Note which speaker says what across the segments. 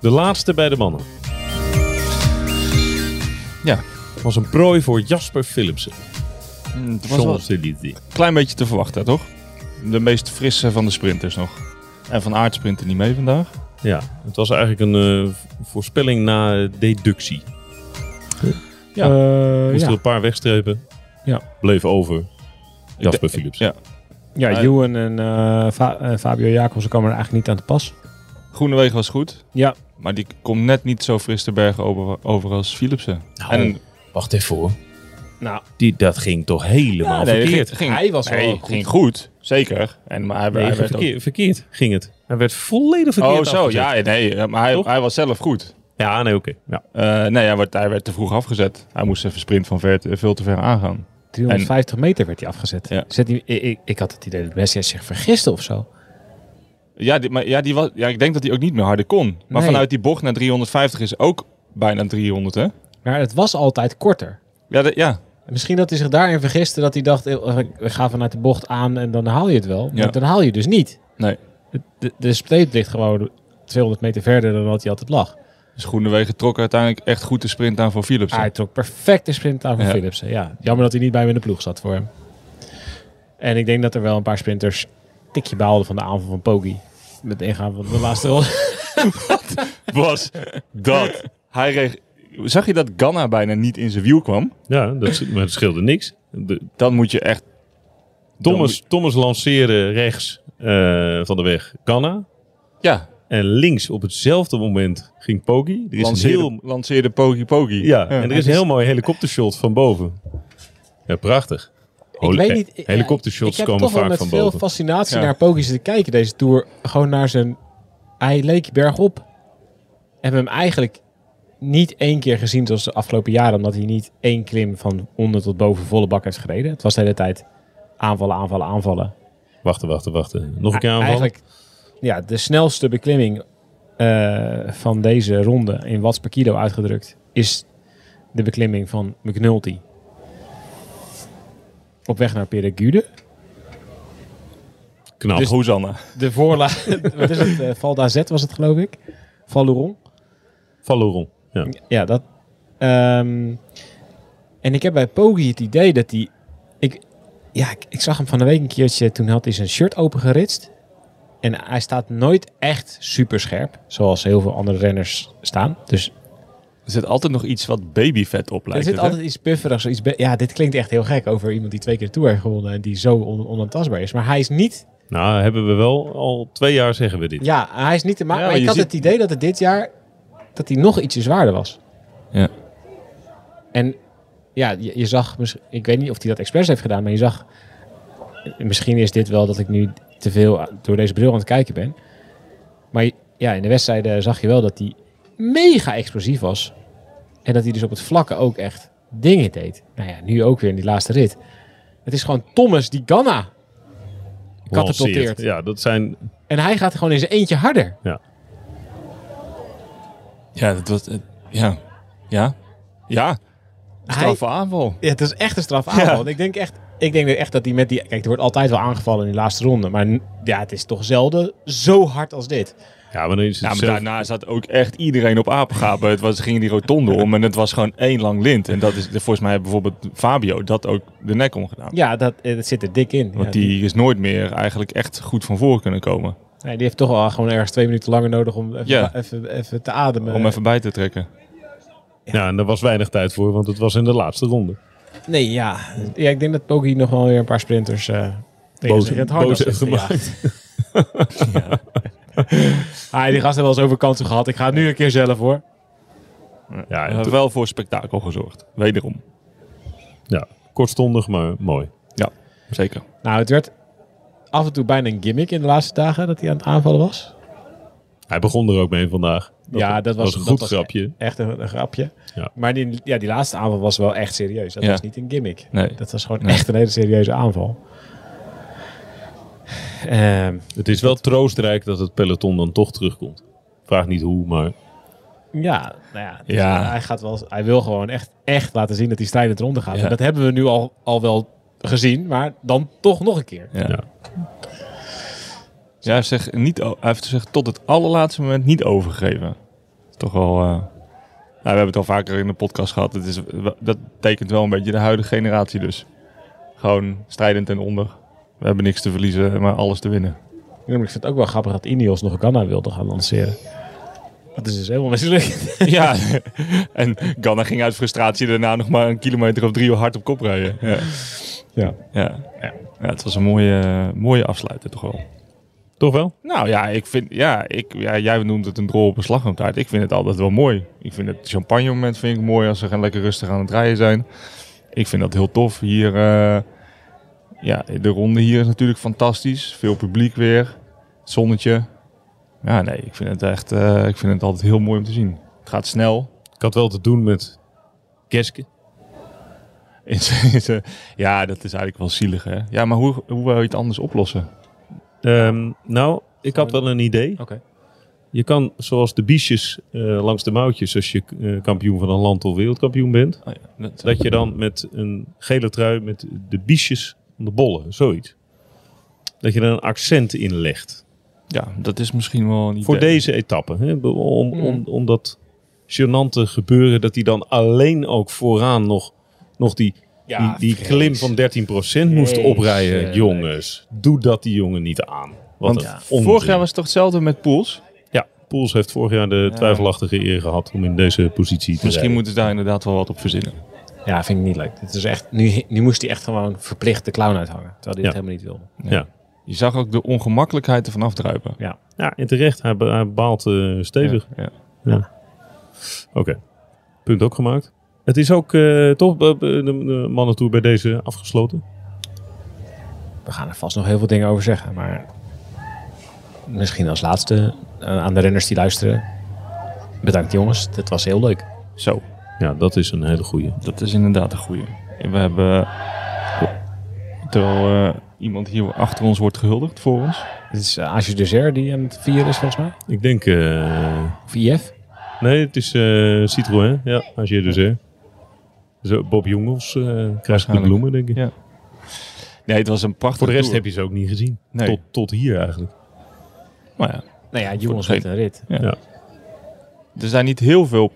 Speaker 1: De laatste bij de mannen
Speaker 2: Ja,
Speaker 1: was een prooi voor Jasper Philipsen.
Speaker 2: mm, het was wel
Speaker 1: Champs-Élysées.
Speaker 2: een klein beetje te verwachten, toch? De meest frisse van de sprinters nog. En van aard sprinten niet mee vandaag.
Speaker 1: Ja, het was eigenlijk een eh, v- voorspelling na eh, deductie. Ja.
Speaker 3: Eh,
Speaker 1: Moest
Speaker 3: ja.
Speaker 1: er een paar wegstrepen.
Speaker 3: Ja.
Speaker 1: Bleef over Jasper
Speaker 2: Ik-
Speaker 1: Philipsen.
Speaker 2: Ja.
Speaker 3: ja,
Speaker 2: Eh,
Speaker 3: Ewan en eh, Fa- eh, Fabio Jacobsen kwamen er eigenlijk niet aan te pas.
Speaker 2: Groenewegen was goed.
Speaker 3: Ja,
Speaker 2: Maar die komt net niet zo fris de bergen over, over als Philipsen. en
Speaker 1: Nou, Wacht even hoor.
Speaker 3: nou,
Speaker 1: Die, dat ging toch helemaal
Speaker 2: Ja, nee,
Speaker 1: verkeerd?
Speaker 2: ging- ging-
Speaker 3: Hij was
Speaker 2: nee,
Speaker 3: wel goed.
Speaker 2: ging goed, zeker. En, maar hij,
Speaker 1: Nee,
Speaker 2: hij
Speaker 1: ging
Speaker 2: werd ook-
Speaker 1: verkeer- verkeerd ging het. Hij werd volledig verkeerd
Speaker 2: Oh, zo,
Speaker 1: afgezet.
Speaker 2: ja, nee. Maar hij,
Speaker 1: Toch?
Speaker 2: hij was zelf goed.
Speaker 1: Ja, nee, oké. Ja.
Speaker 2: Eh, nee, hij werd, hij werd te vroeg afgezet. Hij moest even sprint van ver, te- veel te ver aangaan.
Speaker 3: 350 meter werd hij afgezet.
Speaker 2: Ja.
Speaker 3: Zet hij, ik, ik, ik had het idee dat Messi zich vergiste of zo.
Speaker 2: Ja, die, maar, ja, die was, ja, ik denk dat hij ook niet meer harder kon. Maar
Speaker 3: Nee.
Speaker 2: vanuit die bocht naar 350 is ook bijna 300, hè?
Speaker 3: Maar het was altijd korter.
Speaker 2: Ja, dat- ja.
Speaker 3: Misschien dat hij zich daarin vergiste dat hij dacht, eh, we gaan vanuit de bocht aan en dan haal je het wel. Maar
Speaker 2: Ja.
Speaker 3: dan haal je dus niet.
Speaker 2: Nee.
Speaker 3: De, de, de spleet ligt gewoon 200 meter verder dan dat hij altijd lag.
Speaker 2: Dus Groenewegen trok uiteindelijk echt goed de sprint aan voor Philipsen.
Speaker 3: Hij trok perfect de sprint aan van
Speaker 2: Ja.
Speaker 3: Philipsen. Ja, jammer dat hij niet bij me in de ploeg zat voor hem. En ik denk dat er wel een paar sprinters een tikje baalden van de aanval van Poggi. Met het ingaan van de laatste ronde.
Speaker 2: was dat. Hij reeg... Zag je dat Ganna bijna niet in zijn wiel kwam?
Speaker 1: Ja, dat, maar dat scheelde niks. De,
Speaker 2: Dan moet je echt...
Speaker 1: Thomas, Thomas lanceerde rechts eh, van de weg Ganna.
Speaker 2: Ja,
Speaker 1: En links op hetzelfde moment ging Pogi. Er is
Speaker 2: lanceerde,
Speaker 1: een heel,
Speaker 2: lanceerde Pogi Pogi.
Speaker 1: ja, en
Speaker 2: Nou,
Speaker 1: er is een heel mooi helikoptershot van boven. Ja, prachtig. Hol-
Speaker 3: weet niet, ja,
Speaker 1: Helikoptershots
Speaker 3: ik heb
Speaker 1: komen
Speaker 3: toch wel
Speaker 1: vaak
Speaker 3: met
Speaker 1: van
Speaker 3: veel
Speaker 1: boven.
Speaker 3: fascinatie
Speaker 2: Ja.
Speaker 3: naar Poggi zitten kijken deze Tour. Gewoon naar zijn... Hij leek bergop. Hebben hem eigenlijk niet één keer gezien zoals de afgelopen jaren. Omdat hij niet één klim van onder tot boven volle bak heeft gereden. Het was de hele tijd aanvallen, aanvallen, aanvallen.
Speaker 1: Wachten, wachten, wachten. Nog een keer aanvallen.
Speaker 3: Eigenlijk ja, de snelste beklimming eh, van deze ronde in watts per kilo uitgedrukt is de beklimming van McNulty. Op weg naar Peregude.
Speaker 1: Knap.
Speaker 2: Dus Hosanna.
Speaker 3: De voorla... wat is het? eh, Val d'Azet was het geloof ik. Val Louron.
Speaker 1: Valoron. Ja.
Speaker 3: Ja, dat... ehm, en ik heb bij Poggi het idee dat hij... Ik, ja, ik, ik zag hem van de week een keertje. Toen had hij zijn shirt opengeritst. En hij staat nooit echt super scherp. Zoals heel veel andere renners staan. Dus
Speaker 2: Er zit altijd nog iets wat babyvet op
Speaker 3: er
Speaker 2: lijkt
Speaker 3: zit
Speaker 2: het, hè?
Speaker 3: altijd iets pufferigs. Iets be- ja, dit klinkt echt heel gek over iemand die twee keer de Tour heeft gewonnen. En die zo on- onaantastbaar is. Maar hij is niet...
Speaker 1: Nou, hebben we wel al twee jaar zeggen we dit.
Speaker 3: Ja, hij is niet te maken.
Speaker 2: Ja,
Speaker 3: maar
Speaker 2: maar
Speaker 3: ik
Speaker 2: je
Speaker 3: had
Speaker 2: ziet-
Speaker 3: het idee dat het dit jaar... Dat hij nog ietsje zwaarder was.
Speaker 2: Ja.
Speaker 3: En ja, je, je zag, mis- ik weet niet of hij dat expres heeft gedaan, maar je zag, misschien is dit wel dat ik nu te veel a- door deze bril aan het kijken ben. Maar je- ja, in de wedstrijden zag je wel dat hij mega explosief was. En dat hij dus op het vlakke ook echt dingen deed. Nou ja, nu ook weer in die laatste rit. Het is gewoon Thomas die Ganna
Speaker 1: Lanceert.
Speaker 3: katapulteert.
Speaker 1: Ja, dat zijn...
Speaker 3: En hij gaat gewoon in zijn eentje harder.
Speaker 2: Ja, dat was... eh, ja. Ja. Ja.
Speaker 3: Hij,
Speaker 2: Straffe aanval.
Speaker 3: Ja, het is echt een straf aanval. Ik denk echt, ik denk echt dat die met die. Kijk, er wordt altijd wel aangevallen in de laatste ronde. Maar n- ja, het is toch zelden zo hard als dit.
Speaker 1: Ja, maar dan is het
Speaker 2: Ja, maar
Speaker 1: zelf-
Speaker 2: daarna zat ook echt iedereen op apengapen. Het was, ging die rotonde om en het was gewoon één lang lint. En dat is volgens mij heeft bijvoorbeeld Fabio dat ook de nek omgedaan.
Speaker 3: Ja, dat, eh, dat zit er dik in. Ja,
Speaker 2: Want die is nooit meer eigenlijk echt goed van voor kunnen komen.
Speaker 3: nee, die heeft toch wel gewoon ergens twee minuten langer nodig om even,
Speaker 2: Ja.
Speaker 3: even, even te ademen.
Speaker 2: Om even bij te trekken.
Speaker 1: Ja, en daar was weinig tijd voor, want het was in de laatste ronde.
Speaker 3: Nee, ja. ja. Ik denk dat Poggi nog wel weer een paar sprinters. eh tegen
Speaker 1: Boos-
Speaker 3: zich in het harnas
Speaker 1: boos
Speaker 3: heeft
Speaker 1: heeft
Speaker 3: gejaagd. Ja. Ah, die gasten hebben wel eens over kansen gehad. Ik ga het nu een keer zelf hoor.
Speaker 1: Ja,
Speaker 2: Hij heeft wel voor spektakel gezorgd. Wederom.
Speaker 1: ja kortstondig, maar mooi.
Speaker 2: Zeker.
Speaker 3: Nou, het werd af en toe bijna een gimmick in de laatste dagen dat hij aan het aanvallen was.
Speaker 1: Hij begon er ook mee vandaag.
Speaker 3: ja, dat was,
Speaker 1: een
Speaker 3: dat
Speaker 1: goed
Speaker 3: was
Speaker 1: grapje.
Speaker 3: Echt een, een grapje.
Speaker 1: Ja.
Speaker 3: Maar die, ja, die laatste aanval was wel echt serieus. Dat
Speaker 2: Ja.
Speaker 3: was niet een gimmick.
Speaker 2: Nee.
Speaker 3: Dat was gewoon
Speaker 2: Nee.
Speaker 3: echt een hele serieuze aanval. Ehm,
Speaker 1: Het is wel troostrijk dat het peloton dan toch terugkomt. Vraag niet hoe, maar
Speaker 3: Ja, nou ja, dus
Speaker 2: Ja.
Speaker 3: Hij, gaat wel, hij wil gewoon echt, echt laten zien dat hij strijdend ronde gaat.
Speaker 2: Ja.
Speaker 3: En dat hebben we nu al, al wel gezien, maar dan toch nog een keer.
Speaker 2: Ja.
Speaker 1: Ja.
Speaker 2: Ja, hij heeft zich, niet, o- hij heeft zich tot het allerlaatste moment niet overgegeven. Toch wel... eh, nou, we hebben het al vaker in de podcast gehad. Het is, wel- dat tekent wel een beetje de huidige generatie dus. Gewoon strijdend en onder. We hebben niks te verliezen, maar alles te winnen.
Speaker 3: Ja, maar Ik vind het ook wel grappig dat Ineos nog Ganna wilde gaan lanceren. Dat is dus helemaal mislukt.
Speaker 2: ja, en Ganna ging uit frustratie daarna nog maar een kilometer of drie hard op kop rijden. Ja,
Speaker 3: Ja.
Speaker 2: ja. ja het was een mooie, mooie afsluiter toch wel.
Speaker 1: Toch wel?
Speaker 2: Nou ja, ik vind, ja, ik, ja, jij noemt het een drol op een slagroomtaart. Ik vind het altijd wel mooi. Ik vind het champagne moment vind ik mooi als ze gaan lekker rustig aan het rijden zijn. Ik vind dat heel tof. Hier, eh, ja, de ronde hier is natuurlijk fantastisch. Veel publiek weer. Het zonnetje. Ja, nee, ik vind het echt, eh, ik vind het altijd heel mooi om te zien. Het gaat snel.
Speaker 1: Ik had wel te doen met Keske.
Speaker 2: In zijn- in zijn- ja, dat is eigenlijk wel zielig, hè? Ja, maar hoe, hoe wil je het anders oplossen?
Speaker 1: Ehm, nou, ik had wel een idee.
Speaker 3: Oké.
Speaker 1: Je kan, zoals de biesjes eh, langs de mouwtjes, als je eh, kampioen van een land of wereldkampioen bent,
Speaker 2: Oh ja, dat-
Speaker 1: dat je dan met een gele trui met de biesjes van de bollen, zoiets. Dat je er een accent in legt.
Speaker 2: ja, dat is misschien wel een
Speaker 1: Voor
Speaker 2: idee.
Speaker 1: deze etappe. Hè? Be- Om,
Speaker 2: Hmm.
Speaker 1: om,
Speaker 3: Mm.
Speaker 1: om dat gênante gebeuren dat hij dan alleen ook vooraan nog, nog die,
Speaker 3: Ja,
Speaker 1: die, die klim van 13% moest
Speaker 3: Jezus.
Speaker 1: oprijden. Jongens, doe dat die jongen niet aan. Wat
Speaker 2: Want
Speaker 1: een
Speaker 2: vorig
Speaker 1: onzin.
Speaker 2: jaar was het toch hetzelfde met Pools?
Speaker 1: Ja, Poels heeft vorig jaar de twijfelachtige eer gehad om in deze positie te
Speaker 2: Misschien
Speaker 1: rijden.
Speaker 2: moeten ze daar inderdaad wel wat op verzinnen.
Speaker 3: Ja, vind ik niet leuk. Dit is echt, nu, nu moest hij echt gewoon verplicht de clown uithangen. Terwijl hij
Speaker 1: Ja.
Speaker 3: het helemaal niet wilde.
Speaker 1: Ja.
Speaker 2: Je zag ook de ongemakkelijkheid ervan afdruipen.
Speaker 3: Ja.
Speaker 1: ja, en terecht. Hij, be- hij baalt eh, stevig.
Speaker 2: Ja.
Speaker 1: Oké. Punt ook gemaakt. Het is ook eh, toch eh, de, de mannentour bij deze afgesloten.
Speaker 3: We gaan er vast nog heel veel dingen over zeggen. Maar misschien als laatste eh, aan de renners die luisteren. Bedankt jongens, dit was heel leuk.
Speaker 2: Zo,
Speaker 1: Ja, dat is een hele goeie.
Speaker 2: dat is inderdaad een goeie. We hebben... oh, Terwijl eh, iemand hier achter ons wordt gehuldigd voor ons.
Speaker 3: Dit is uh, Asje Dessert die aan het vieren is volgens mij.
Speaker 1: Ik denk... eh,
Speaker 3: Of IF.
Speaker 1: Nee, het is eh, Citroën. Ja, als je dus hè. Zo, Bob Jongels eh krijgt de
Speaker 2: Waarschijnlijk.
Speaker 1: bloemen, denk ik.
Speaker 2: Ja. Nee, het was een prachtige
Speaker 1: Voor de rest heb
Speaker 2: tour.
Speaker 1: je ze ook niet gezien.
Speaker 2: Nee.
Speaker 1: Tot, tot hier eigenlijk.
Speaker 2: Maar ja,
Speaker 3: Nou ja, jongens
Speaker 2: Voor
Speaker 3: met
Speaker 2: degene-
Speaker 3: een rit.
Speaker 2: er zijn niet heel veel...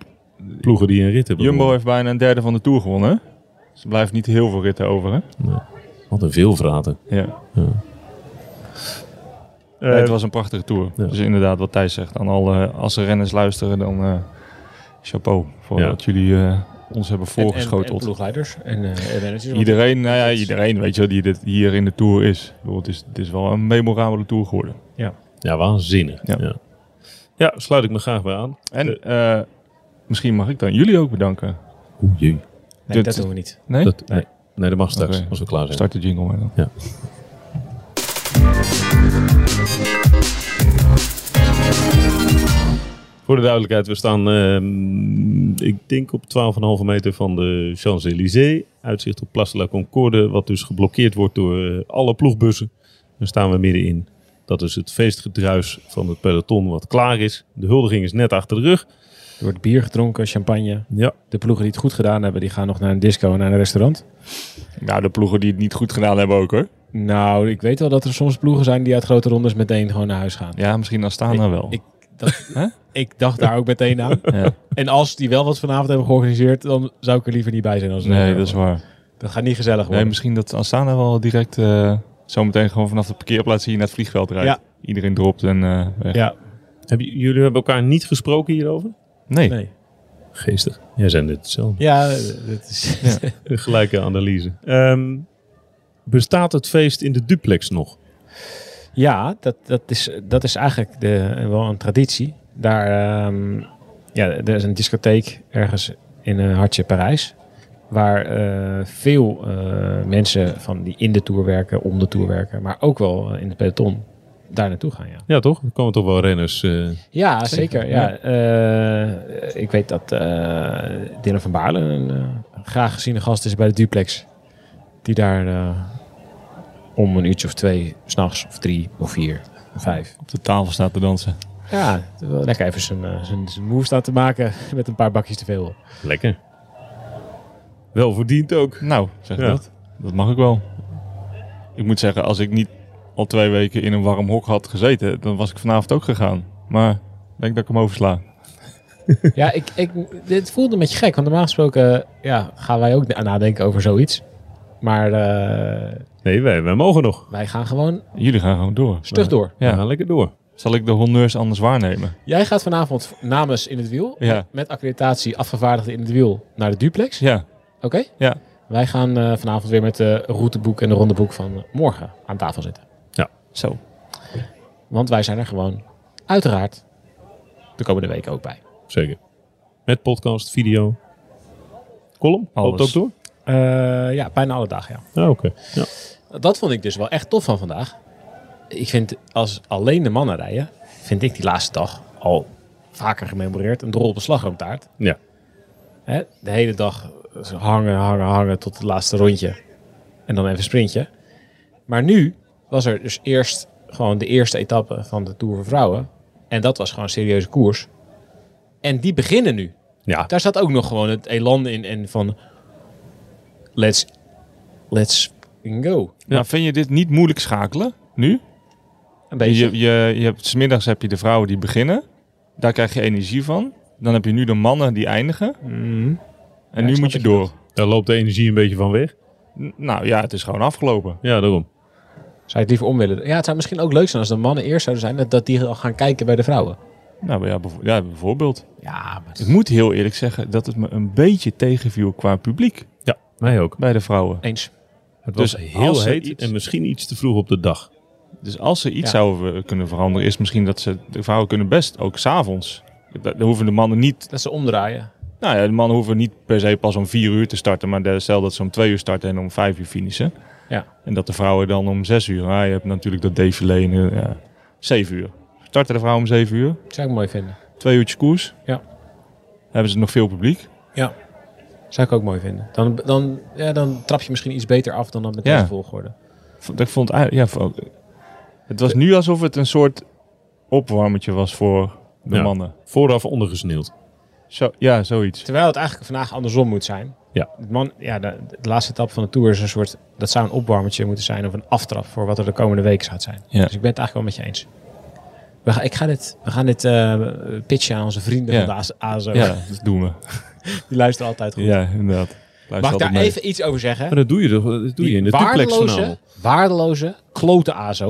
Speaker 1: Ploegen die een rit hebben.
Speaker 2: Jumbo heeft bijna een derde van de Tour gewonnen. hè? Dus er blijft niet heel veel ritten over, hè?
Speaker 1: Wat een veelvraten.
Speaker 2: Ja.
Speaker 1: Eh,
Speaker 2: Nee, het was een prachtige Tour.
Speaker 1: ja.
Speaker 2: Dus inderdaad, wat Thijs zegt. Aan alle, als er renners luisteren, dan eh, chapeau. Voor
Speaker 1: Ja.
Speaker 2: dat jullie eh, ons hebben
Speaker 3: En- en- En,
Speaker 2: voorgeschoteld.
Speaker 3: ploegleiders en eh, en managers. want-
Speaker 2: Iedereen, nou ja, iedereen weet je wel, die dit hier in de Tour is. Ik bedoel, Het is, het is wel een memorabele Tour geworden.
Speaker 1: Ja, waanzinnig.
Speaker 2: Ja.
Speaker 1: Ja. Ja. ja, sluit ik me graag bij aan.
Speaker 2: En eh, misschien mag ik dan jullie ook bedanken.
Speaker 1: Oeh, jee.
Speaker 3: Nee, dat
Speaker 2: dat-
Speaker 3: doen we niet.
Speaker 2: Nee?
Speaker 1: Dat, nee. nee, dat mag straks,
Speaker 2: Oké.
Speaker 1: als we klaar zijn.
Speaker 2: Start de jingle maar dan.
Speaker 1: Ja. Voor de duidelijkheid, we staan, ehm, ik denk, op 12,5 meter van de Champs-Élysées. Uitzicht op Place de la Concorde, wat dus geblokkeerd wordt door eh, alle ploegbussen. Daar staan we middenin. Dat is het feestgedruis van het peloton wat klaar is. De huldiging is net achter de rug.
Speaker 3: Er wordt bier gedronken, champagne.
Speaker 1: Ja,
Speaker 3: De ploegen die het goed gedaan hebben, die gaan nog naar een disco en naar een restaurant.
Speaker 2: Nou, de ploegen die het niet goed gedaan hebben ook hoor.
Speaker 3: Nou, ik weet wel dat er soms ploegen zijn die uit grote rondes meteen gewoon naar huis gaan.
Speaker 2: Ja, misschien Astana wel.
Speaker 3: Ik, dacht,
Speaker 2: Hè?
Speaker 3: ik dacht daar ook meteen aan.
Speaker 2: Ja.
Speaker 3: En als die wel wat vanavond hebben georganiseerd, dan zou ik er liever niet bij zijn. Als ze
Speaker 2: Nee,
Speaker 3: hebben.
Speaker 2: dat is waar.
Speaker 3: Dat gaat niet gezellig
Speaker 2: Nee,
Speaker 3: worden.
Speaker 2: misschien dat Astana wel direct eh, zometeen gewoon vanaf de parkeerplaats hier naar het vliegveld rijdt.
Speaker 3: Ja.
Speaker 2: Iedereen dropt en eh, weg.
Speaker 3: ja,
Speaker 1: hebben, j- jullie hebben elkaar niet gesproken hierover?
Speaker 2: Nee.
Speaker 3: nee.
Speaker 1: Geestig. Jij zijn dit zelf.
Speaker 3: Ja, dat is...
Speaker 1: Een Gelijke analyse. Ehm, bestaat het feest in de duplex nog?
Speaker 3: Ja, dat, dat, is, dat is eigenlijk de, wel een traditie. Daar, ehm, ja, er is een discotheek ergens in een hartje Parijs. Waar eh, veel eh, mensen van die in de tour werken, om de tour werken, maar ook wel eh, in het peloton daar naartoe gaan. Ja,
Speaker 1: Ja, toch? Er komen toch wel renners. eh,
Speaker 3: ja
Speaker 2: Zeker,
Speaker 3: zeker. ja. Eh, ik weet dat eh Dylan van Baarle een eh, graag geziene gast is bij de duplex. Die daar eh, om een uurtje of twee, s'nachts of drie of vier, vijf
Speaker 2: Op de tafel staat te dansen.
Speaker 3: Ja, wel lekker even zijn, eh, zijn, zijn move staan te maken met een paar bakjes te veel. op.
Speaker 1: Lekker. Wel verdiend ook.
Speaker 2: Nou, zeg
Speaker 1: Ja.
Speaker 2: dat. Dat mag ik wel. Ik moet zeggen, als ik niet al twee weken in een warm hok had gezeten, dan was ik vanavond ook gegaan. Maar ik denk dat ik hem oversla.
Speaker 3: Ja, ik, ik, dit voelde een beetje gek, want normaal gesproken ja, gaan wij ook na- nadenken over zoiets. Maar eh,
Speaker 1: Nee, wij, wij mogen nog.
Speaker 3: wij gaan gewoon
Speaker 2: Jullie gaan gewoon door.
Speaker 3: stug door.
Speaker 1: Ja.
Speaker 2: Ja.
Speaker 1: lekker door.
Speaker 2: Zal ik de honneurs anders waarnemen?
Speaker 3: Jij gaat vanavond namens In het Wiel,
Speaker 2: Ja.
Speaker 3: met accreditatie afgevaardigde In het Wiel, naar de duplex.
Speaker 2: Ja.
Speaker 3: Oké?
Speaker 2: Ja.
Speaker 3: Wij gaan eh, vanavond weer met de routeboek en de rondeboek van eh, morgen aan tafel zitten.
Speaker 2: Zo.
Speaker 3: Want wij zijn er gewoon, uiteraard, de komende weken ook bij.
Speaker 1: Zeker. Met podcast, video. Column? Loopt ook
Speaker 2: Alles.
Speaker 1: door?
Speaker 3: Eh, ja, bijna alle dagen, ja.
Speaker 1: Ah, Oké. Ja.
Speaker 3: Dat vond ik dus wel echt tof van vandaag. Ik vind als alleen de mannen rijden, vind ik die laatste dag al vaker gememoreerd een drol op een slagroomtaart.
Speaker 1: ja.
Speaker 3: Hè? De hele dag hangen, hangen, hangen tot het laatste rondje. En dan even een sprintje. Maar nu was er dus eerst gewoon de eerste etappe van de Tour voor Vrouwen. En dat was gewoon een serieuze koers. En die beginnen nu.
Speaker 1: Ja.
Speaker 3: Daar zat ook nog gewoon het elan in en van let's, let's go.
Speaker 2: Nou, vind je dit niet moeilijk schakelen? Nu?
Speaker 3: Een
Speaker 2: Je, je, je hebt, 's middags heb je de vrouwen die beginnen. Daar krijg je energie van. Dan heb je nu de mannen die eindigen. En
Speaker 3: ik
Speaker 2: nu
Speaker 3: snap
Speaker 2: moet je
Speaker 3: dat je
Speaker 2: door.
Speaker 1: Daar loopt de energie een beetje van weg.
Speaker 2: N- Nou ja, het is gewoon afgelopen.
Speaker 1: Ja, daarom.
Speaker 3: Zou je het liever om willen? Ja, het zou misschien ook leuk zijn als de mannen eerst zouden zijn... dat- dat die al gaan kijken bij de vrouwen.
Speaker 2: Nou ja, bijvo- ja, bijvoorbeeld.
Speaker 3: Ja, maar...
Speaker 2: Ik moet heel eerlijk zeggen dat het me een beetje tegenviel qua publiek
Speaker 1: Ja, mij ook.
Speaker 2: bij de vrouwen.
Speaker 3: Eens.
Speaker 1: Het was
Speaker 2: Dus
Speaker 1: heel
Speaker 2: als er
Speaker 1: heet
Speaker 2: iets-
Speaker 1: en misschien iets te vroeg op de dag.
Speaker 2: Dus als ze iets
Speaker 3: Ja.
Speaker 2: zouden we- kunnen veranderen, is misschien dat ze de vrouwen kunnen best ook s'avonds. Dan hoeven de mannen niet.
Speaker 3: Dat ze omdraaien.
Speaker 2: Nou ja, de mannen hoeven niet per se pas om vier uur te starten, maar de- stel dat ze om twee uur starten en om vijf uur finishen.
Speaker 3: Ja.
Speaker 2: En dat de vrouwen dan om zes uur. Ah, je hebt natuurlijk dat défilé. en, eh, Ja, zeven uur. Starten de vrouwen om zeven uur.
Speaker 3: Zou ik mooi vinden.
Speaker 2: Twee uurtjes koers.
Speaker 3: Ja.
Speaker 2: Hebben ze nog veel publiek?
Speaker 3: Ja. Zou ik ook mooi vinden. Dan, dan, ja, dan trap je misschien iets beter af dan dan met
Speaker 2: Ja.
Speaker 3: deze volgorde.
Speaker 2: Vond- Ik vond eigenlijk- ja, vond- het was nu alsof het een soort opwarmetje was voor de
Speaker 1: Ja.
Speaker 2: mannen.
Speaker 1: Vooraf ondergesneeuwd.
Speaker 2: Zo, ja, zoiets.
Speaker 3: Terwijl het eigenlijk vandaag andersom moet zijn.
Speaker 1: Ja.
Speaker 3: Het Man, ja de, de laatste etappe van de Tour is een soort... Dat zou een opwarmertje moeten zijn of een aftrap... voor wat er de komende week zou zijn.
Speaker 2: Ja.
Speaker 3: Dus ik ben het eigenlijk wel met je eens. We, gaan- ik ga dit, we gaan dit eh, pitchen aan onze vrienden
Speaker 2: Ja.
Speaker 3: van de ASO.
Speaker 2: Ja, dat doen we.
Speaker 3: Die luisteren altijd goed.
Speaker 2: Ja, inderdaad.
Speaker 3: Mag
Speaker 2: Luister
Speaker 3: ik daar
Speaker 2: altijd mee.
Speaker 3: even iets over zeggen?
Speaker 1: Maar dat doe je, toch- dat doe je in de duplex
Speaker 3: waardeloze,
Speaker 1: vanavond.
Speaker 3: waardeloze klote ASO.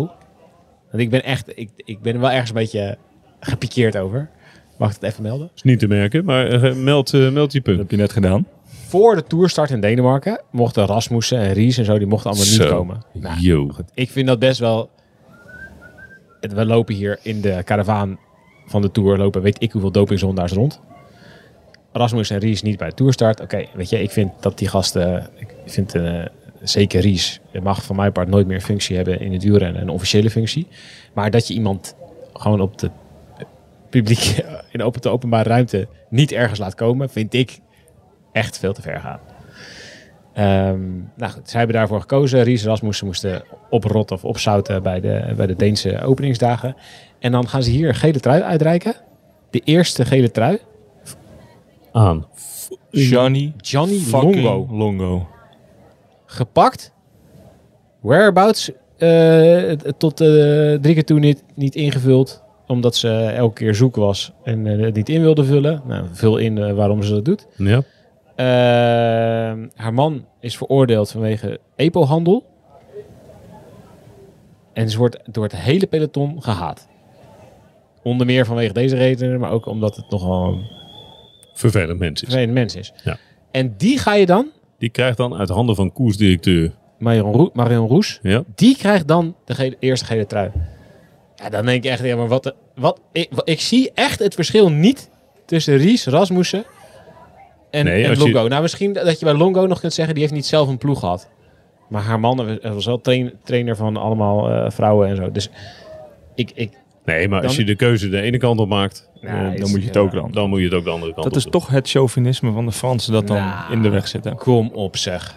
Speaker 3: Want ik ben echt, ik, ik ben er wel ergens een beetje gepikeerd over. Mag ik dat even melden?
Speaker 1: is niet te merken, maar eh, meld, eh, meld je
Speaker 2: Dat
Speaker 1: punt.
Speaker 2: heb je net gedaan.
Speaker 3: Voor de toerstart in Denemarken mochten Rasmussen en Ries en zo, die mochten allemaal niet
Speaker 1: Zo.
Speaker 3: komen. Nou,
Speaker 1: Yo.
Speaker 3: ik vind dat best wel... het- We lopen hier in de karavaan van de Tour, lopen weet ik hoeveel dopingzondaars rond. Rasmussen en Ries niet bij de toerstart. Oké, weet je, ik vind dat die gasten... Ik vind eh, zeker Ries het mag van mijn part nooit meer een functie hebben in het wielrennen. Een officiële functie. Maar dat je iemand gewoon op de eh, publiek, in op de openbare ruimte niet ergens laat komen, vind ik echt veel te ver gaan. Ehm, nou goed, zij hebben daarvoor gekozen. Ries en Rasmussen moesten oprotten of opzouten bij de, bij de Deense openingsdagen. En dan gaan ze hier een gele trui uitreiken. De eerste gele trui.
Speaker 1: Aan.
Speaker 2: Johnny
Speaker 3: Johnny
Speaker 2: fucking
Speaker 3: Longo.
Speaker 2: Longo.
Speaker 3: gepakt. Whereabouts eh, t- tot eh, drie keer toe niet, niet ingevuld. Omdat ze elke keer zoek was en eh, het niet in wilde vullen. Nou, vul in eh, waarom ze dat doet.
Speaker 1: Ja.
Speaker 3: Eh, Ehm, haar man is veroordeeld vanwege EPO-handel. En ze wordt door het hele peloton gehaat. Onder meer vanwege deze redenen, maar ook omdat het nogal een
Speaker 1: Vervelend mens is.
Speaker 3: vervelend mens is.
Speaker 1: Ja.
Speaker 3: En die ga je dan,
Speaker 1: Die krijgt dan uit handen van koersdirecteur.
Speaker 3: Marion, Roe, Marion Roes,
Speaker 1: Ja.
Speaker 3: Die krijgt dan de gele- eerste gele trui. Ja, dan denk ik echt, ja, maar wat, de- wat, ik, wa- ik zie echt het verschil niet tussen Ries, Rasmussen en,
Speaker 1: Nee,
Speaker 3: en
Speaker 1: als je-
Speaker 3: Longo. Nou, misschien dat je bij Longo nog kunt zeggen, die heeft niet zelf een ploeg gehad. Maar haar man eh, was wel train- trainer van allemaal eh, vrouwen en zo. Dus ik, ik,
Speaker 1: Nee, maar als
Speaker 3: Dan-
Speaker 1: je de keuze de ene kant op maakt,
Speaker 3: Nou,
Speaker 1: eh,
Speaker 2: Dan moet je het ook dan.
Speaker 1: dan moet je het ook de andere kant
Speaker 2: Dat
Speaker 1: op
Speaker 2: is toch het chauvinisme van de Fransen dat dan
Speaker 3: Nou.
Speaker 2: in de weg zit. hè?
Speaker 3: kom op zeg.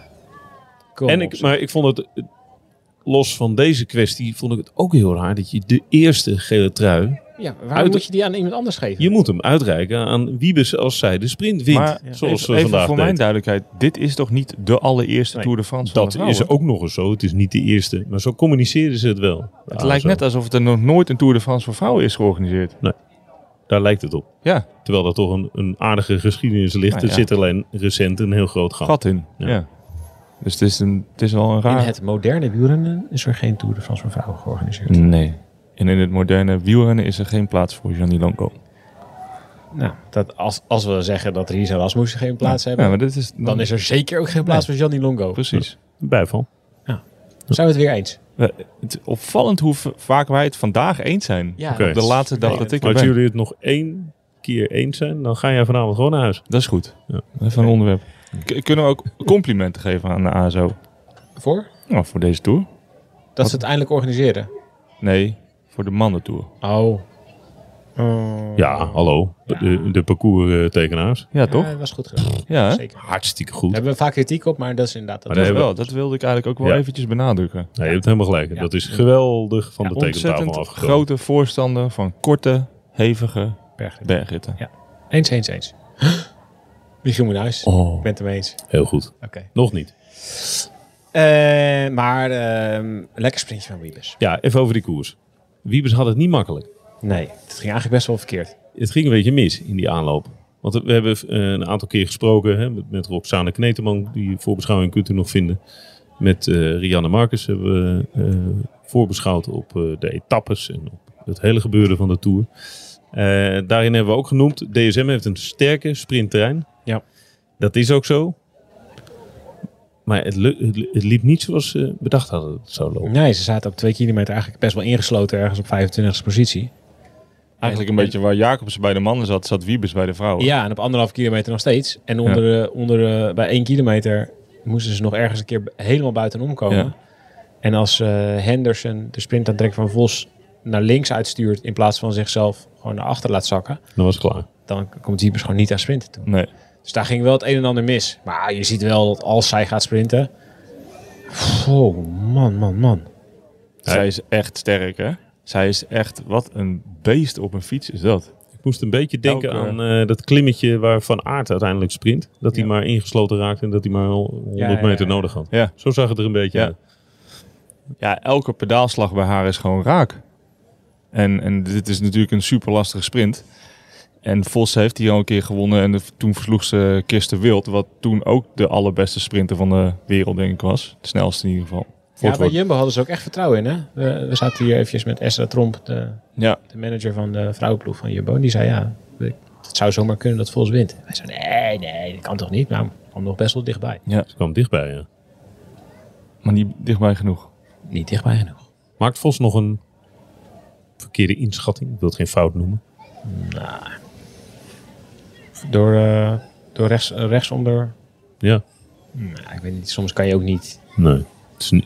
Speaker 3: Kom
Speaker 1: En
Speaker 3: op,
Speaker 1: ik,
Speaker 3: zeg.
Speaker 1: maar ik vond het, eh, los van deze kwestie, vond ik het ook heel raar dat je de eerste gele trui
Speaker 3: Ja, waarom
Speaker 1: Uit-
Speaker 3: moet je die aan iemand anders geven?
Speaker 1: Je moet hem uitreiken aan Wiebes als zij de sprint wint.
Speaker 2: Maar
Speaker 1: zoals
Speaker 2: even,
Speaker 1: we
Speaker 2: even
Speaker 1: vandaag
Speaker 2: voor
Speaker 1: deed.
Speaker 2: mijn duidelijkheid. Dit is toch niet de allereerste
Speaker 1: Nee,
Speaker 2: Tour de France van de
Speaker 1: Dat
Speaker 2: vrouwen?
Speaker 1: is ook nog eens zo. Het is niet de eerste. Maar zo communiceren ze het wel.
Speaker 2: Het lijkt net alsof er nog nooit een Tour de France voor vrouwen is georganiseerd.
Speaker 1: Daar lijkt het op.
Speaker 2: Ja,
Speaker 1: Terwijl er toch een, een aardige geschiedenis ligt.
Speaker 2: Nou ja.
Speaker 1: Er zit alleen recent een heel groot gat.
Speaker 2: gat in.
Speaker 1: Ah. Ja.
Speaker 2: Ja. Dus het is, een, het is wel een
Speaker 3: In
Speaker 2: raar...
Speaker 3: het moderne wielrennen is er geen Tour de France voor vrouwen georganiseerd.
Speaker 2: Nee. En in het moderne wielrennen is er geen plaats voor Gianni Longo.
Speaker 3: Nou, dat als, als we zeggen dat Risa Rasmussen geen plaats
Speaker 2: Ja,
Speaker 3: hebben,
Speaker 2: maar dit is...
Speaker 3: dan is er zeker ook geen plaats voor Gianni Longo.
Speaker 2: Precies.
Speaker 1: Bijval.
Speaker 3: Zijn we het weer eens?
Speaker 2: We- het is opvallend hoe v- vaak wij het vandaag eens zijn.
Speaker 3: Ja,
Speaker 1: Oké.
Speaker 2: Op de laatste dag dat ik
Speaker 1: Maar
Speaker 2: er
Speaker 1: als
Speaker 2: ben.
Speaker 1: jullie het nog één keer eens zijn, dan ga jij vanavond gewoon naar huis.
Speaker 2: Dat is goed.
Speaker 1: Ja.
Speaker 2: Even een onderwerp. K- kunnen we ook complimenten geven aan de ASO?
Speaker 3: Voor?
Speaker 2: Nou, voor deze tour?
Speaker 3: Dat ze het eindelijk organiseren.
Speaker 2: Nee, voor de mannentour.
Speaker 3: Oh.
Speaker 1: Ja, hallo. De, eh, de parcourstekenaars.
Speaker 2: Ja, toch?
Speaker 3: dat was goed gedaan.
Speaker 2: Ja, hè?
Speaker 3: Zeker.
Speaker 1: Hartstikke
Speaker 3: Daar
Speaker 1: goed.
Speaker 3: hebben we vaak kritiek op, maar dat is inderdaad... Dat
Speaker 1: Maar
Speaker 2: Dat,
Speaker 1: hebben-
Speaker 2: wel, dat wilde ik eigenlijk ook wel
Speaker 1: Ja.
Speaker 2: eventjes benadrukken.
Speaker 1: Ja, je hebt helemaal gelijk.
Speaker 3: Ja.
Speaker 1: Dat is geweldig van de tekentafel
Speaker 2: Ontzettend
Speaker 1: afgekomen.
Speaker 2: grote voorstander van korte, hevige bergritten.
Speaker 3: Eens, eens, eens. Michiel Moenhuis.
Speaker 2: Oh.
Speaker 3: Ik ben het ermee eens.
Speaker 1: Heel goed.
Speaker 3: Oké.
Speaker 1: Nog niet.
Speaker 3: Eh, maar ehm, lekker sprintje van Wiebes.
Speaker 1: Ja, even over die koers. Wiebes had het niet makkelijk.
Speaker 3: Nee, het ging eigenlijk best wel verkeerd.
Speaker 1: het ging een beetje mis in die aanloop. Want we hebben eh, een aantal keer gesproken hè, met, met Roxane Kneteman, die voorbeschouwing kunt u nog vinden. Met eh, Rianne Marcus hebben we eh, voorbeschouwd op eh, de etappes en op het hele gebeuren van de Tour. Eh, daarin hebben we ook genoemd, DSM heeft een sterke sprintterrein.
Speaker 3: Ja.
Speaker 1: Dat is ook zo. Maar het, lu- het, het liep niet zoals ze bedacht hadden dat het zou lopen.
Speaker 3: Nee, ze zaten op twee kilometer eigenlijk best wel ingesloten ergens op 25e positie.
Speaker 2: Eigenlijk een beetje waar Jacobs bij de mannen zat, zat Wiebes bij de vrouwen.
Speaker 3: Ja, en op anderhalf kilometer nog steeds. En onder, eh, onder, eh, bij één kilometer moesten ze nog ergens een keer b- helemaal buitenom komen.
Speaker 2: Ja.
Speaker 3: En als eh, Henderson de sprintaantrek van Vos naar links uitstuurt... in plaats van zichzelf gewoon naar achter laat zakken...
Speaker 1: Dan was het klaar.
Speaker 3: dan komt Wiebes gewoon niet aan sprinten toe.
Speaker 2: Nee.
Speaker 3: Dus daar ging wel het een en ander mis. Maar je ziet wel dat als zij gaat sprinten... Oh, man, man, man.
Speaker 2: Zij is echt sterk, hè? Zij is echt, wat een beest op een fiets is dat.
Speaker 1: Ik moest een beetje denken
Speaker 2: Elke-
Speaker 1: aan eh, dat klimmetje waar Van Aert uiteindelijk sprint. Dat hij
Speaker 3: Ja.
Speaker 1: maar ingesloten raakt en dat hij maar al 100
Speaker 3: Ja, ja, ja.
Speaker 1: meter nodig had.
Speaker 2: Ja.
Speaker 1: Zo zag het er een beetje
Speaker 2: Ja.
Speaker 1: uit.
Speaker 2: Ja, elke pedaalslag bij haar is gewoon raak. En, en dit is natuurlijk een super lastige sprint. En Vos heeft hier al een keer gewonnen. En de- toen versloeg ze Kirsten Wild. Wat toen ook de allerbeste sprinter van de wereld, denk ik, was. De snelste in ieder geval.
Speaker 3: Ja, bij
Speaker 2: Voortwoord.
Speaker 3: Jumbo hadden ze ook echt vertrouwen in, hè? We, we zaten hier eventjes met Esra Tromp, de,
Speaker 2: Ja,
Speaker 3: de manager van de vrouwenploeg van Jumbo. En die zei, ja, we- het zou zomaar kunnen dat Vos wint. Wij zeiden, nee, nee, dat kan toch niet? Nou, kwam nog best wel dichtbij.
Speaker 1: Ze kwam dichtbij. Ja.
Speaker 2: maar niet dichtbij genoeg.
Speaker 3: Niet dichtbij genoeg.
Speaker 1: Maakt Vos nog een verkeerde inschatting? Ik wil het geen fout noemen.
Speaker 3: Door, eh, door rechts, rechtsonder...
Speaker 1: Ja.
Speaker 3: Nou, ik weet niet, soms kan je ook niet
Speaker 1: Nee. Het is, ni-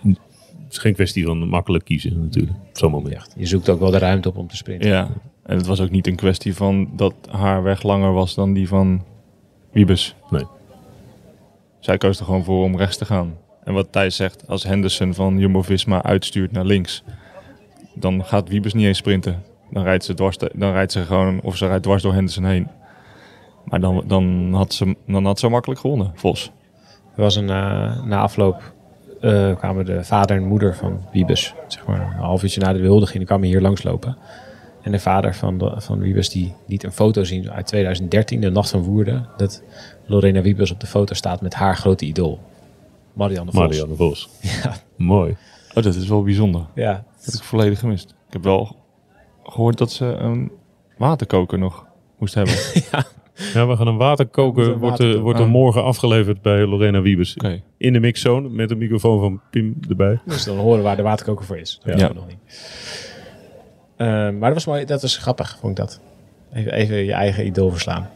Speaker 1: het is geen kwestie van makkelijk kiezen natuurlijk. Op zo'n moment.
Speaker 3: echt... Je zoekt ook wel de ruimte op om te sprinten.
Speaker 2: Ja. En het was ook niet een kwestie van dat haar weg langer was dan die van Wiebes.
Speaker 1: Nee.
Speaker 2: Zij koos er gewoon voor om rechts te gaan. En wat Thijs zegt, als Henderson van Jumbo-Visma uitstuurt naar links, dan gaat Wiebes niet eens sprinten. Dan rijdt ze, dwars te- dan rijdt ze gewoon, of ze rijdt dwars door Henderson heen. Maar dan, dan, had, ze, dan had ze makkelijk gewonnen, Vos.
Speaker 3: Er was een, eh, na afloop eh, kwamen de vader en moeder van Wiebes, zeg maar een half uurtje na de huldiging, die kwamen hier langslopen. En de vader van, de- van Wiebes die liet een foto zien uit 2013, de Nacht van Woerden, dat Lorena Wiebes op de foto staat met haar grote idool, Marianne Vos.
Speaker 1: Marianne Vos.
Speaker 3: Ja.
Speaker 1: Mooi.
Speaker 2: Oh, dat is wel bijzonder.
Speaker 3: Ja.
Speaker 2: Dat heb ik volledig gemist. Ik heb wel gehoord dat ze een waterkoker nog moest hebben. Oké.
Speaker 1: Ja, we gaan een waterkoker.
Speaker 3: Een
Speaker 1: wordt, er,
Speaker 3: waterkoker.
Speaker 1: wordt er
Speaker 2: Ah.
Speaker 1: morgen afgeleverd bij Lorena Wiebes. In de mixzone met een microfoon van Pim erbij.
Speaker 3: Dus dan horen waar de waterkoker voor is. Dat
Speaker 1: Ja.
Speaker 3: weten we nog niet. Eh, maar dat was mooi, dat was grappig, vond ik dat. Even, even je eigen idool verslaan.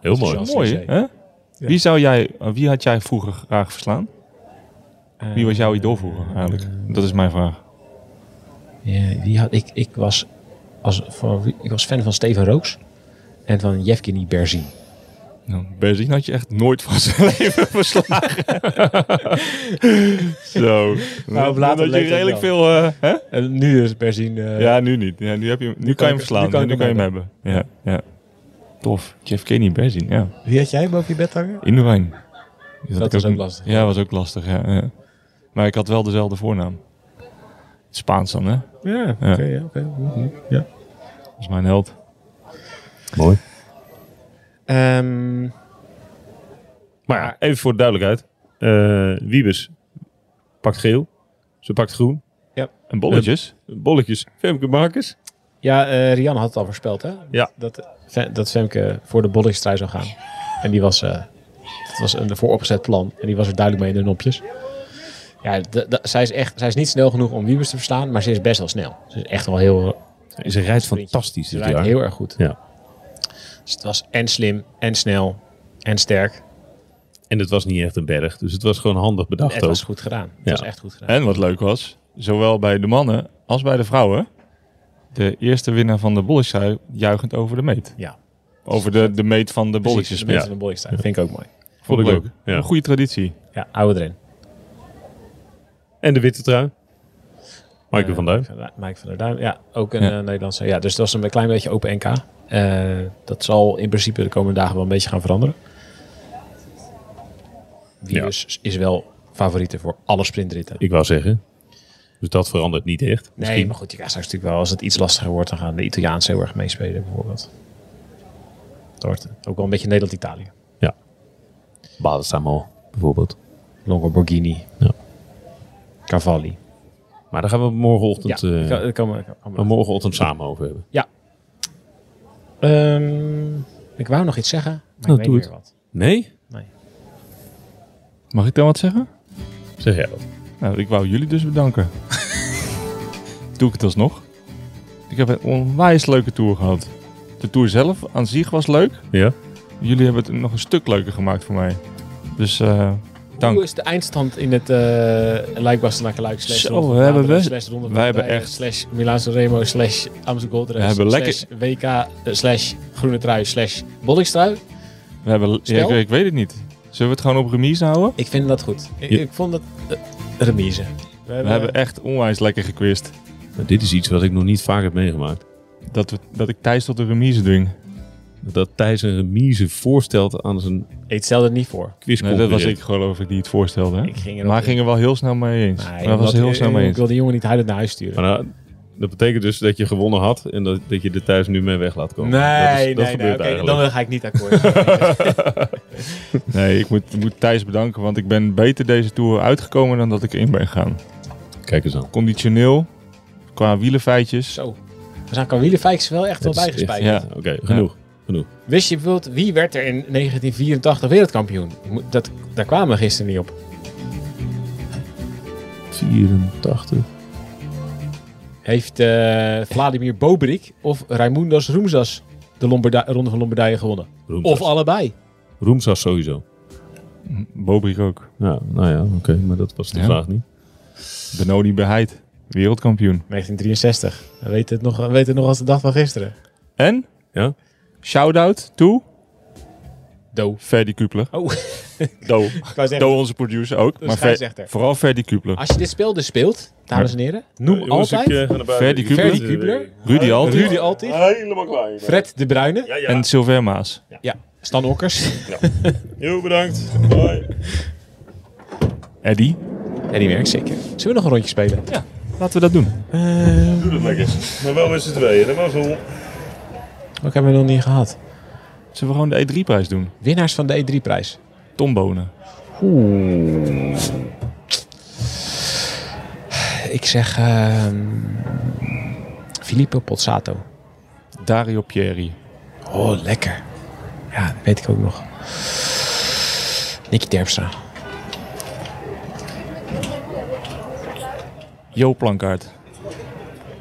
Speaker 1: Heel mooi.
Speaker 3: Enthousiast.
Speaker 2: Mooi, hè? Wie, zou jij, eh, wie had jij vroeger graag verslaan? Wie was jouw idool vroeger eigenlijk? Dat is mijn vraag.
Speaker 3: Ja, die had, ik, ik, was als, van, ik was fan van Steven Rooks en van Yevgeny Berzin.
Speaker 2: Nou, benzine had je echt nooit van zijn leven verslagen. Zo.
Speaker 3: Maar op
Speaker 2: Omdat
Speaker 3: later
Speaker 2: je
Speaker 3: leeftijd
Speaker 2: redelijk
Speaker 3: wel.
Speaker 2: veel... eh, hè?
Speaker 3: En nu is benzine... eh,
Speaker 2: Ja, nu niet. Ja, nu, heb je, nu, kan je hem
Speaker 3: ik-
Speaker 2: verslaan.
Speaker 3: nu
Speaker 2: Nu
Speaker 3: kan
Speaker 2: kan,
Speaker 3: ik
Speaker 2: nu
Speaker 3: hem
Speaker 2: kan je hem hebben. Ja, ja. Tof. Jeff Kenny Berzin, ja.
Speaker 3: Wie had jij boven je bed hangen?
Speaker 2: In de wijn. Dus had
Speaker 3: Dat
Speaker 2: ik
Speaker 3: was ook lastig.
Speaker 2: Ja, was ook lastig, ja, ja. Maar ik had wel dezelfde voornaam. Spaans dan, hè?
Speaker 3: Ja, oké.
Speaker 2: oké,
Speaker 3: ja,
Speaker 2: Dat is mijn held.
Speaker 1: Mooi.
Speaker 3: Ehm,
Speaker 1: Maar ja, even voor de duidelijkheid. Eh, Wiebes pakt geel. Ze pakt groen.
Speaker 2: En bolletjes?
Speaker 1: Bolletjes. Femke Marcus.
Speaker 3: ja eh, Rianne had het al voorspeld, hè?
Speaker 1: Ja.
Speaker 3: Dat, Fe- dat Femke voor de bollingsstrijd zou gaan. En die was... eh dat was een vooropgezet plan. En die was er duidelijk mee in de nopjes. Ja, d- d- zij, is echt, zij is niet snel genoeg om Wiebers te verslaan, maar ze is best wel snel. Ze is echt wel heel...
Speaker 1: En ze rijdt fantastisch
Speaker 3: Ze
Speaker 1: dit
Speaker 3: rijdt
Speaker 1: jaar.
Speaker 3: heel erg goed.
Speaker 1: Ja.
Speaker 3: Dus het was en slim, en snel, en sterk.
Speaker 1: En het was niet echt een berg. Dus het was gewoon handig bedacht
Speaker 3: het
Speaker 1: ook.
Speaker 3: was goed gedaan. Het
Speaker 1: Ja. Eh,
Speaker 3: was echt goed gedaan.
Speaker 2: En wat leuk was, zowel bij de mannen als bij de vrouwen, de eerste winnaar van de bolletjes juichend over de meet.
Speaker 3: Ja.
Speaker 2: Over de, de meet van de bolletjes.
Speaker 3: Precies, de mensen van de bollingsstrijd. Vind ik ook mooi.
Speaker 1: Vond ik
Speaker 2: Leuk.
Speaker 1: ook. Ja.
Speaker 2: Een goede traditie.
Speaker 3: Ja, oude erin.
Speaker 1: En de witte trui.
Speaker 3: Eh,
Speaker 1: Michael van Duin.
Speaker 3: Mike van der Duin, ja. Ook een
Speaker 2: Ja.
Speaker 3: eh, Nederlandse. Ja, dus dat was een klein beetje open NK. Eh, dat zal in principe de komende dagen wel een beetje gaan veranderen.
Speaker 1: Ja.
Speaker 3: Wiebes is wel favoriete voor alle sprintritten.
Speaker 1: Ik wou zeggen. Dus dat verandert niet echt.
Speaker 3: Nee, maar goed, je krijgt straks natuurlijk wel, als het iets lastiger wordt, dan gaan de Italiaanse heel erg meespelen bijvoorbeeld. Dat wordt ook wel een beetje Nederland-Italië.
Speaker 1: Ja. Balsamo bijvoorbeeld.
Speaker 3: Longo Borghini.
Speaker 1: Ja.
Speaker 3: Cavalli.
Speaker 1: Maar daar gaan we morgenochtend,
Speaker 3: ja,
Speaker 1: eh,
Speaker 3: dat kan, dat kan, dat kan-
Speaker 1: we morgenochtend samen over hebben.
Speaker 3: Ehm, ik wou nog iets zeggen, maar
Speaker 1: Nou,
Speaker 3: ik weet
Speaker 1: doe
Speaker 3: niet
Speaker 1: het.
Speaker 3: meer wat.
Speaker 1: Nee?
Speaker 2: Mag ik dan wat zeggen?
Speaker 1: Zeg jij dat.
Speaker 2: Nou, ik wou jullie dus bedanken. Doe ik het alsnog. Ik heb een onwijs leuke tour gehad. De tour zelf aan zich was leuk.
Speaker 1: Ja?
Speaker 2: Jullie hebben het nog een stuk leuker gemaakt voor mij. Dus eh, dank.
Speaker 3: Hoe is de eindstand in het eh Luik-Bastenaken Luik slash
Speaker 2: Zo,
Speaker 3: Ronde van
Speaker 2: we hebben
Speaker 3: Vlaanderen,
Speaker 2: we-
Speaker 3: slash Ronde van
Speaker 2: wij hebben
Speaker 3: Turkije,
Speaker 2: echt-
Speaker 3: slash Milaanse Remo slash Amsterdam Gold Race
Speaker 2: We hebben
Speaker 3: slash WK eh, slash groene trui slash bollingstrui.
Speaker 2: We hebben, ja, ik,
Speaker 3: Stel?
Speaker 2: ik weet het niet. Zullen we het gewoon op remise houden?
Speaker 3: Ik vind dat goed. Ik,
Speaker 1: Ja.
Speaker 3: ik vond dat eh, remise.
Speaker 2: We hebben echt onwijs lekker gequist.
Speaker 1: Nou, dit is iets wat ik nog niet vaak heb meegemaakt.
Speaker 2: Dat, we, dat ik Thijs tot de remise dwing.
Speaker 1: Dat Thijs een remise voorstelt aan zijn
Speaker 3: Ik stel er niet voor.
Speaker 2: Nee,
Speaker 1: quizconcurrent.
Speaker 2: dat was ik geloof ik die het voorstelde. Hè?
Speaker 3: Ik ging er
Speaker 2: Maar hij ging er wel heel snel mee eens.
Speaker 3: Nee,
Speaker 2: Maar hij was
Speaker 3: omdat-
Speaker 2: er heel snel
Speaker 3: ik-
Speaker 2: mee
Speaker 3: Ik
Speaker 2: eens. Oh,
Speaker 3: wil die jongen niet huilend naar huis sturen.
Speaker 1: Maar nou, dat betekent dus dat je gewonnen had en dat, dat je er thuis nu mee weg laat komen. dat is, dat gebeurt
Speaker 3: oké,
Speaker 1: eigenlijk.
Speaker 3: dan ga ik niet akkoord.
Speaker 2: Nee, ik moet, moet Thijs bedanken, want ik ben beter deze tour uitgekomen dan dat ik in ben gegaan.
Speaker 1: Kijk eens aan.
Speaker 2: conditioneel, qua wielenfeitjes.
Speaker 3: Zo. We zijn qua wielenfijkjes wel echt wel
Speaker 1: Dat is echt-
Speaker 3: bijgespijkerd.
Speaker 2: Ja,
Speaker 1: Oké, genoeg. Genoeg.
Speaker 3: Wist je bijvoorbeeld wie werd er in 1984 wereldkampioen? Ik moet- Dat, daar kwamen we gisteren niet op.
Speaker 1: 84.
Speaker 3: Heeft eh, Vladimir Bobrik of Raimundos Roemzas de Lombarda- Ronde van Lombardije gewonnen?
Speaker 1: Roemsas.
Speaker 3: Of allebei?
Speaker 1: Roemsas sowieso.
Speaker 2: Bobrik ook.
Speaker 1: Ja, nou ja, oké, maar dat was de
Speaker 2: Ja.
Speaker 1: vraag niet.
Speaker 2: Benoni Beheid, wereldkampioen.
Speaker 3: 1963. We weten het nog, we weten het nog als de dag van gisteren.
Speaker 2: En?
Speaker 1: Ja?
Speaker 2: Shout-out to
Speaker 3: Do.
Speaker 2: Ferdi Kupler.
Speaker 3: Oh,
Speaker 2: Do.
Speaker 3: ik wou zeggen,
Speaker 2: Do, onze producer ook. Maar Ver-
Speaker 3: scheidsrechter.
Speaker 2: vooral Ferdi Kupler.
Speaker 3: als je dit spel dus speelt, dames en heren, noem altijd
Speaker 1: eh,
Speaker 2: Ferdi Kubler.
Speaker 3: Ferdi Kubler,
Speaker 2: Rudy Alt
Speaker 3: ah, Rudy Altig,
Speaker 1: Helemaal klaar.
Speaker 3: Fred de Bruyne,
Speaker 2: en Sylvain Maas.
Speaker 3: ja, Stan Okkers,
Speaker 1: Heel bedankt. Bye.
Speaker 2: Eddie,
Speaker 3: en die werkt zeker. Zullen we nog een rondje spelen?
Speaker 2: laten we dat doen.
Speaker 1: Doe dat lekker. Maar wel met z'n tweeën. Dat was al.
Speaker 3: Wat hebben we nog niet gehad?
Speaker 2: Zullen we gewoon de E3-prijs doen?
Speaker 3: Winnaars van de E E3-prijs.
Speaker 2: Tom Bonen.
Speaker 3: Ik zeg ehm Filippo Pozzato.
Speaker 2: Dario Pieri.
Speaker 3: Oh, lekker. Ja, dat weet ik ook nog. Nicky Terpstra.
Speaker 2: Jo Plankaart.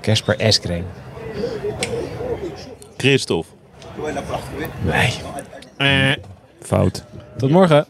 Speaker 3: Casper Eskreen.
Speaker 1: Christophe.
Speaker 3: Nee.
Speaker 2: Fout.
Speaker 3: Tot morgen.